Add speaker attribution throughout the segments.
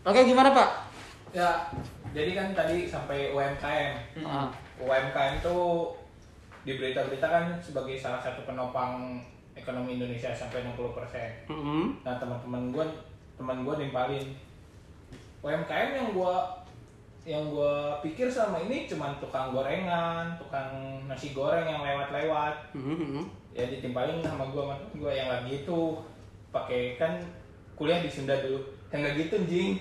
Speaker 1: Oke, gimana Pak?
Speaker 2: Ya, jadi kan tadi sampai UMKM.
Speaker 1: Ah.
Speaker 3: Hmm.
Speaker 2: UMKM itu di berita-berita kan sebagai salah satu penopang ekonomi Indonesia sampai 60%.
Speaker 3: Hmm.
Speaker 1: Mm-mm.
Speaker 2: Nah, teman-teman gue teman gue nimpalin UMKM yang gue yang gue pikir selama ini cuman tukang gorengan, tukang nasi goreng yang lewat-lewat.
Speaker 3: Hmm.
Speaker 1: Mm-mm.
Speaker 2: ya ditimpalin sama gua sama temen gua yang lagi itu pakai kan kuliah di Sunda dulu yang nggak gitu jing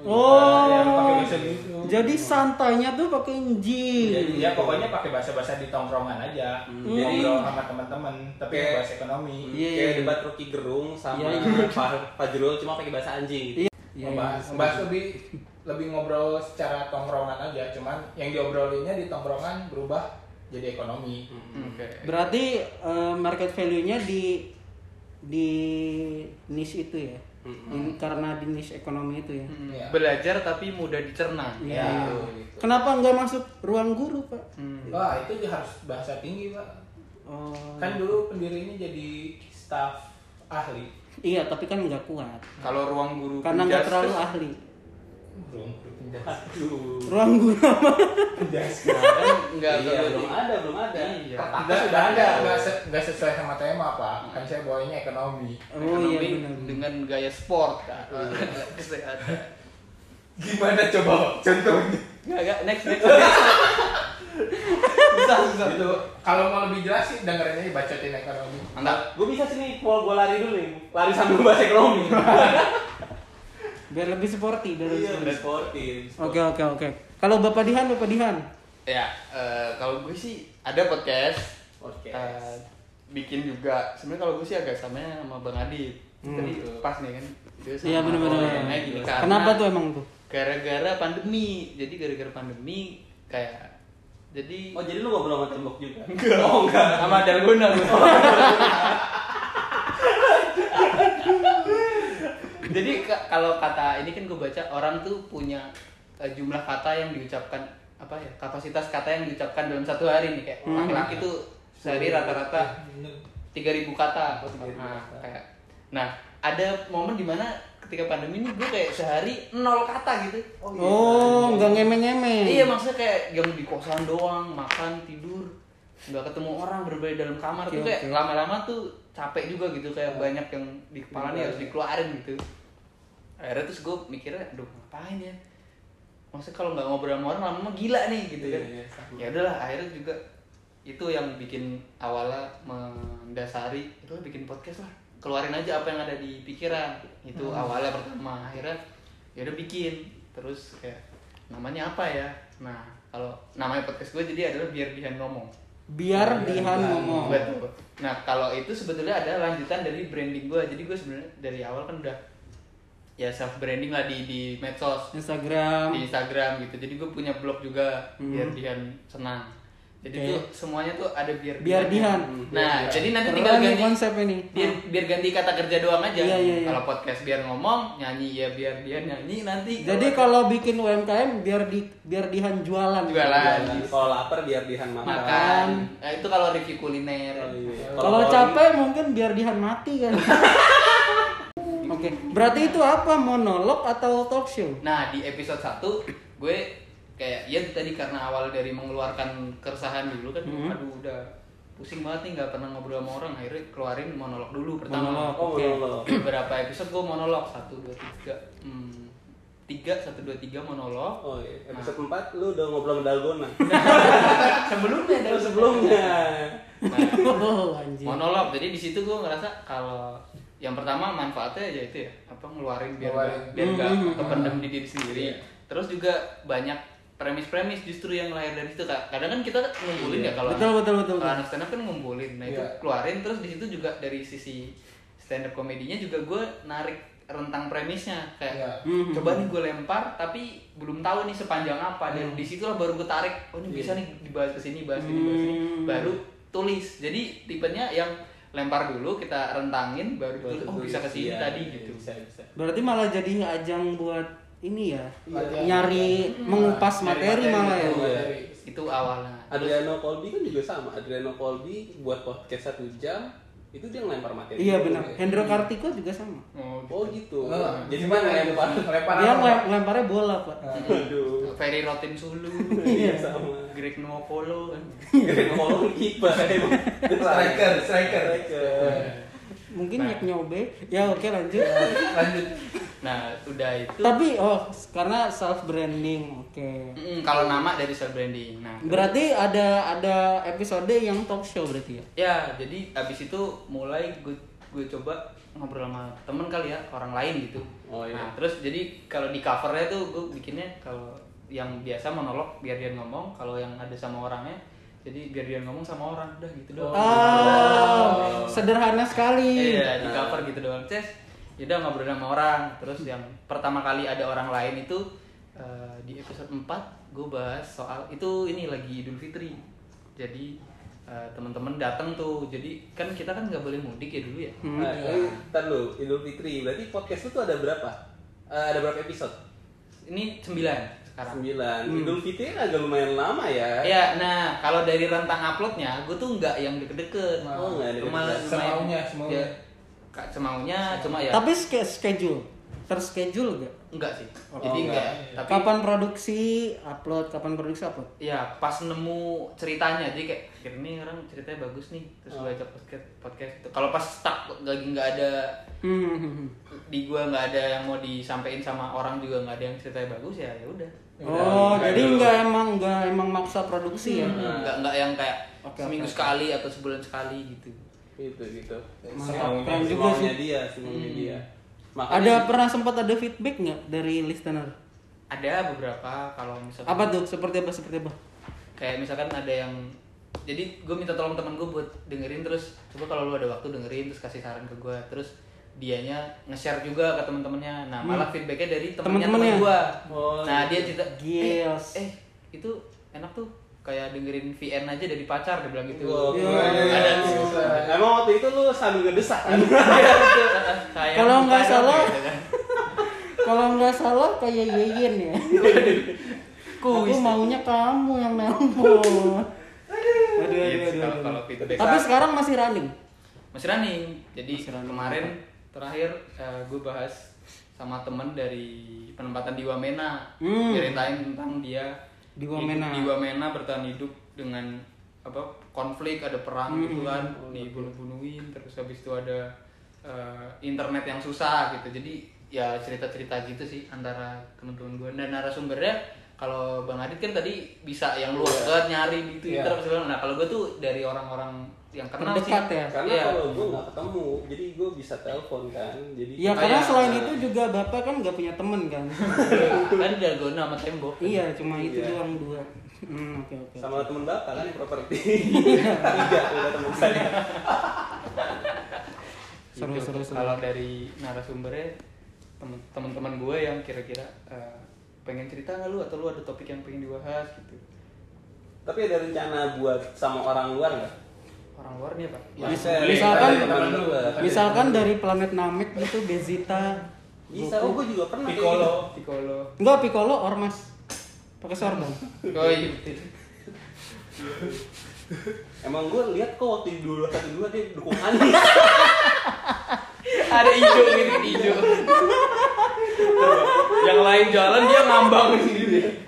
Speaker 1: Oh.
Speaker 2: yang pakai bahasa gitu
Speaker 1: Jadi santainya tuh pakai
Speaker 3: Iya,
Speaker 2: jadi
Speaker 1: nji.
Speaker 2: ya pokoknya pakai bahasa bahasa di tongkrongan aja
Speaker 1: Hmm.
Speaker 2: jadi ngobrol sama teman-teman tapi
Speaker 4: Kayak-
Speaker 2: bahasa ekonomi
Speaker 1: Iya.
Speaker 4: Kayak debat Rocky Gerung sama
Speaker 1: Iya,
Speaker 4: Fah- Fajrul cuma pakai bahasa anjing. gitu.
Speaker 1: Iya.
Speaker 2: membahas, membahas lebih lebih ngobrol secara tongkrongan aja cuman yang diobrolinnya di tongkrongan berubah jadi ekonomi
Speaker 1: Hmm.
Speaker 4: Oke.
Speaker 1: Berarti eh, market value-nya di di niche itu ya. Yang- Karena di niche ekonomi itu ya.
Speaker 3: Hmm,
Speaker 2: Iya.
Speaker 3: Belajar tapi mudah dicerna.
Speaker 1: Iya.
Speaker 2: Ya, gitu.
Speaker 1: Kenapa nggak masuk ruang guru, Pak?
Speaker 3: Hmm.
Speaker 2: wah itu harus bahasa tinggi pak
Speaker 1: Oh.
Speaker 2: kan dulu pendirinya jadi staf ahli
Speaker 1: Iya, tapi kan nggak kuat.
Speaker 3: Kalau ruang guru Hmm.
Speaker 1: Karena nggak
Speaker 3: penjas-
Speaker 1: terlalu ahli.
Speaker 2: belum
Speaker 1: Ruang guru apa?
Speaker 4: Nah,
Speaker 3: kan nggak
Speaker 4: Iya, belum
Speaker 3: terlalu-
Speaker 4: ada, belum ada.
Speaker 3: Iya.
Speaker 2: Enggak, sudah ada, enggak, se- enggak sesuai sama tema, Pak. Kan saya bawanya ekonomi.
Speaker 1: Oh iya
Speaker 3: Ekonomi
Speaker 1: benar. Oh, iya.
Speaker 3: dengan gaya sport kan. Kesehatan.
Speaker 2: Gimana coba contohnya?
Speaker 4: Enggak, enggak, next, next. next. Susah, susah.
Speaker 2: Gitu. Kalau mau lebih jelas sih dengerin aja bacotin ekonomi.
Speaker 3: Mantap.
Speaker 4: Gue bisa sini, mau gue lari dulu nih. Lari sambil bahasa ekonomi.
Speaker 1: Biar lebih sporty, biar lebih
Speaker 4: Iya,
Speaker 1: sporty.
Speaker 4: udah sportif.
Speaker 1: Oke, oke, oke. Kalau Bapak Dihan, Bapak Dihan.
Speaker 3: Ya, eh, kalau gue sih ada podcast.
Speaker 4: Oke.
Speaker 3: Eh, bikin juga. Sebenarnya kalau gue sih agak sama sama Bang Adit. Tadi pas nih kan. Dia sama
Speaker 1: Hmm. Iya benar-benar.
Speaker 3: orangnya gini, karena-
Speaker 1: Kenapa tuh emang tuh?
Speaker 3: gara-gara pandemi jadi gara-gara pandemi kayak jadi
Speaker 4: Oh, jadi lu ngobrol sama tembok juga? Oh, enggak.
Speaker 3: sama dalgona lu. jadi ka- kalau kata ini kan gue baca orang tuh punya eh, jumlah kata yang diucapkan apa ya kapasitas kata yang diucapkan dalam satu hari nih kayak
Speaker 1: Hmm.
Speaker 3: laki-laki tuh sehari rata-rata 3000 kata. Nah, kayak nah ada momen dimana ketika pandemi ini gue kayak sehari nol kata gitu.
Speaker 1: Oh, nggak ngemeng-ngemeng.
Speaker 3: Iya maksudnya kayak yang di kosan doang, makan, tidur, nggak ketemu orang berbeda dalam kamar
Speaker 1: Oke,
Speaker 3: tuh kayak
Speaker 1: oke. Iya.
Speaker 3: lama-lama tuh capek juga gitu kayak banyak yang di kepala nih harus dikeluarin gitu. Akhirnya terus gue mikirnya, aduh ngapain ya? Maksudnya kalau nggak ngobrol sama orang lama-lama gila nih gitu
Speaker 4: Iya,
Speaker 3: kan?
Speaker 4: iya, sama.
Speaker 3: Ya udahlah akhirnya juga itu yang bikin awalnya mendasari itu bikin podcast lah keluarin aja apa yang ada di pikiran itu
Speaker 4: Hmm.
Speaker 3: awalnya pertama akhirnya ya udah bikin terus kayak namanya apa ya nah kalau namanya podcast gue jadi adalah biar Dihan ngomong
Speaker 1: Biar Dihan ngomong.
Speaker 3: Betul. nah kalau itu sebetulnya ada lanjutan dari branding gue jadi gue sebenarnya dari awal kan udah ya self branding lah di di medsos di
Speaker 1: Instagram.
Speaker 3: Instagram gitu. Jadi gue punya blog juga
Speaker 1: Hmm.
Speaker 3: biar Dian senang. Jadi
Speaker 1: Oke.
Speaker 3: tuh semuanya tuh ada biar
Speaker 1: Biar Dian.
Speaker 3: Nah, jadi nanti
Speaker 1: Keren
Speaker 3: tinggal
Speaker 1: nih
Speaker 3: ganti
Speaker 1: konsep ini. Hmm.
Speaker 3: Biar, biar ganti kata kerja doang aja.
Speaker 1: Iya, iya, iya.
Speaker 3: Kalau podcast biar ngomong, nyanyi ya biar Dian nyanyi nanti.
Speaker 1: Jadi kalau bikin UMKM biar di biar Dihan jualan.
Speaker 3: Jualan.
Speaker 1: Iya.
Speaker 4: Jadi Kalau lapar biar dihan makan.
Speaker 3: makan. Nah, itu kalau review kuliner.
Speaker 4: Oh, iya.
Speaker 1: Kalau capek mungkin biar Dihan mati kan. Oke, berarti itu apa monolog atau talk show?
Speaker 3: Nah, di episode 1 gue kayak ya tadi karena awal dari mengeluarkan keresahan dulu kan aduh udah pusing banget nih nggak pernah ngobrol sama orang akhirnya keluarin monolog dulu pertama
Speaker 1: Monolog.
Speaker 4: Oh,
Speaker 1: Oke.
Speaker 4: belum, belum.
Speaker 3: beberapa episode gue monolog satu dua tiga hmm, tiga satu dua tiga monolog
Speaker 4: Oh, iya. episode 4 lu udah ngobrol sama dalgona.
Speaker 3: sebelumnya
Speaker 4: Lu sebelumnya.
Speaker 1: Oh, anjir.
Speaker 3: monolog jadi di situ gue ngerasa kalau yang pertama manfaatnya ya itu ya apa ngeluarin biar
Speaker 2: Ngeluarin.
Speaker 3: nggak- biar nggak
Speaker 1: Hmm.
Speaker 3: kependam di diri sendiri
Speaker 4: Iya.
Speaker 3: terus juga banyak premis-premis justru yang lahir dari situ kak kadang kan kita ngumpulin ya kalau
Speaker 1: Betul,
Speaker 3: anak-
Speaker 1: betul, betul,
Speaker 3: kalau
Speaker 1: betul.
Speaker 3: anak stand up kan ngumpulin nah itu
Speaker 2: Iya.
Speaker 3: keluarin terus di situ juga dari sisi stand up komedinya juga gue narik rentang premisnya
Speaker 2: Iya.
Speaker 3: kayak
Speaker 1: Mhm.
Speaker 3: coba nih gue lempar tapi belum tahu nih sepanjang apa
Speaker 2: Iya.
Speaker 3: dan di situlah baru gue tarik oh ini bisa nih dibahas kesini bahas ini bahas ini
Speaker 1: Hmm.
Speaker 3: baru tulis jadi tipenya yang lempar dulu kita rentangin baru ditulis oh bisa kesini
Speaker 4: Iya,
Speaker 3: tadi
Speaker 4: iya,
Speaker 3: gitu
Speaker 4: Bisa, bisa.
Speaker 1: Berarti malah jadi ajang buat ini ya,
Speaker 2: Iya.
Speaker 1: nyari mengupas materi malah ya.
Speaker 4: Iya.
Speaker 3: itu awalnya
Speaker 4: Adriano Colby kan juga sama. Adriano Colby buat podcast satu jam, Itu dia ngelempar materi.
Speaker 1: Iya
Speaker 4: dulu
Speaker 1: benar.
Speaker 4: ya?
Speaker 1: Hendro Kartiko juga sama.
Speaker 3: Oh,
Speaker 4: Oh gitu.
Speaker 2: Eh, jadi
Speaker 4: Gimana
Speaker 2: mana lempar lempar
Speaker 1: Dia
Speaker 2: apa?
Speaker 1: ngelem- ngelemparnya bola
Speaker 3: Nah.
Speaker 1: pak.
Speaker 4: gitu. Aduh.
Speaker 3: Ferry Rotin Sulu,
Speaker 4: Iya sama.
Speaker 3: Greg Nuopolo kan.
Speaker 4: Ngomong kiper.
Speaker 2: Striker, striker.
Speaker 4: Iya.
Speaker 1: Mungkin nyak nyobe. Ya oke lanjut.
Speaker 2: Lanjut.
Speaker 3: Nah, udah itu.
Speaker 1: Tapi oh karena self branding oke.
Speaker 3: Mm, kalau nama dari self branding. Nah,
Speaker 1: Berarti ada ada episode yang talk show berarti ya.
Speaker 4: Iya.
Speaker 3: ya jadi abis itu mulai gue gue coba ngobrol sama temen kali ya orang lain gitu
Speaker 4: Oh, iya.
Speaker 3: nah terus jadi kalau di covernya tuh gue bikinnya kalau yang biasa monolog biar dia ngomong kalau yang ada sama orangnya jadi biar dia ngomong sama orang udah gitu doang
Speaker 1: Ah, sederhana sekali.
Speaker 3: Iya, di
Speaker 4: nah.
Speaker 3: cover gitu doang. Ces, yaudah ngobrol sama orang. Terus yang pertama kali ada orang lain itu eh, di episode 4 gue bahas soal itu ini lagi Idul Fitri. Jadi eh, teman-teman datang tuh. Jadi kan kita kan nggak boleh mudik ya dulu ya.
Speaker 4: Nah, ini ntar lu, Idul Fitri. Berarti podcast lu tuh ada berapa? Eh, ada berapa episode?
Speaker 3: Ini 9 sekarang.
Speaker 4: Sembilan.
Speaker 1: Hmm.
Speaker 4: Idul Fitri agak lumayan lama ya.
Speaker 3: Iya, nah kalau dari rentang uploadnya, gue tuh nggak yang deket-deket.
Speaker 4: Oh, nggak ada
Speaker 3: Cuma
Speaker 4: deket-deket.
Speaker 3: lumayan-
Speaker 2: Semaunya, semaunya.
Speaker 3: Ya, ka- semaunya, cuma ya
Speaker 1: Tapi ske- schedule terschedule gak?
Speaker 3: enggak sih.
Speaker 2: Oh,
Speaker 3: Jadi enggak.
Speaker 2: enggak.
Speaker 3: Tapi
Speaker 1: Kapan produksi upload? Kapan produksi upload?
Speaker 3: ya pas nemu ceritanya jadi kayak kira ini orang ceritanya bagus nih terus
Speaker 1: Oh.
Speaker 3: gue ajak podcast podcast itu kalau pas stuck lagi nggak ada
Speaker 1: Hmm.
Speaker 3: di gue nggak ada yang mau disampaikan sama orang juga nggak ada yang ceritanya bagus ya ya udah
Speaker 1: Oh,
Speaker 3: iya.
Speaker 4: Udah,
Speaker 1: jadi
Speaker 4: dulu.
Speaker 1: nggak emang nggak emang maksa produksi ya?
Speaker 3: nggak nggak yang kayak
Speaker 1: Oke,
Speaker 3: seminggu
Speaker 1: oke, oke.
Speaker 3: sekali atau sebulan sekali gitu
Speaker 4: Gitu gitu.
Speaker 1: Mantap.
Speaker 4: Semaunya,
Speaker 1: Keren juga
Speaker 4: semaunya
Speaker 1: sih. Hmm.
Speaker 4: dia, semaunya dia.
Speaker 1: Ada pernah sempat ada feedback nggak dari listener?
Speaker 3: ada beberapa kalau misalkan
Speaker 1: Apa tuh? Seperti apa? Seperti apa?
Speaker 3: kayak misalkan ada yang jadi gue minta tolong teman gue buat dengerin terus coba kalau lu ada waktu dengerin terus kasih saran ke gue terus dianya nge-share juga ke teman-temannya nah malah feedbacknya dari temennya
Speaker 1: Hmm. Temen-temennya? iya.
Speaker 3: temen gue
Speaker 4: Oh,
Speaker 3: nah dia cerita eh,
Speaker 1: Gils.
Speaker 3: eh itu enak tuh kayak dengerin VN aja dari pacar dia bilang gitu
Speaker 4: Wow.
Speaker 1: Iya.
Speaker 4: Ada. Emang waktu itu lu sambil ngedesak kan?
Speaker 3: Iya, betul. Sayang,
Speaker 1: Kalau
Speaker 3: bukan
Speaker 1: nggak
Speaker 3: apa
Speaker 1: salah-
Speaker 3: gitu kan.
Speaker 1: Kalau nggak salah kayak Yeyen ya. Aku
Speaker 3: kuis
Speaker 1: maunya kamu yang nelpon. Aduh, aduh, aduh,
Speaker 3: Gitu, kalau
Speaker 1: aduh.
Speaker 3: kalau feedback
Speaker 1: Tapi sekarang masih running.
Speaker 3: Mas Rani, jadi kemarin terakhir gue bahas sama temen dari penempatan di Wamena
Speaker 1: Hmm.
Speaker 3: ceritain tentang dia
Speaker 1: Di Wamena.
Speaker 3: hidup di Wamena bertahan hidup dengan apa konflik ada perang gitu kan dibunuh-bunuhin terus habis itu ada eh, internet yang susah gitu jadi ya cerita-cerita gitu sih antara teman-teman gue dan narasumbernya kalau Bang Adit kan tadi bisa yang luas banget nyari di Twitter
Speaker 2: Iya.
Speaker 3: apa segala. nah kalau gue tuh dari orang-orang yang kenal sih
Speaker 1: Terdekat ya?
Speaker 4: Karena
Speaker 3: Iya.
Speaker 4: kalau gue nggak ketemu, jadi gue bisa telepon kan. Jadi
Speaker 1: Ya
Speaker 3: Oh,
Speaker 1: karena
Speaker 3: iya.
Speaker 1: selain itu juga bapak kan nggak punya temen kan.
Speaker 3: kan dalgona sama tembok
Speaker 1: iya, cuma itu
Speaker 4: Iya.
Speaker 1: doang dua. Hmm, oke oke.
Speaker 4: sama temen bapak kan properti.
Speaker 3: Iya.
Speaker 4: Tiga udah temen saya.
Speaker 1: Seru
Speaker 3: Gitu.
Speaker 1: seru seru.
Speaker 3: kalau dari narasumbernya temen- teman-teman gue yang kira-kira eh, pengen cerita nggak lu atau lu ada topik yang pengen dibahas gitu
Speaker 4: Tapi ada rencana buat sama orang luar nggak?
Speaker 3: orang luarnya pak
Speaker 4: Ya,
Speaker 1: Mis-
Speaker 4: saya-
Speaker 1: misalkan-
Speaker 4: saya teman lu. ya.
Speaker 1: Misalkan dari planet Namek gitu Bezita.
Speaker 4: bisa, oh gue juga pernah. kayak gitu.
Speaker 2: Piccolo.
Speaker 3: Piccolo
Speaker 1: Enggak Piccolo Ormas. Pakai sorban.
Speaker 3: oh iya betul.
Speaker 4: gitu. Emang gue lihat kok waktu dulu satu dua dia dukung Anies.
Speaker 3: ada hijau gitu hijau yang lain jalan dia ngambang sendiri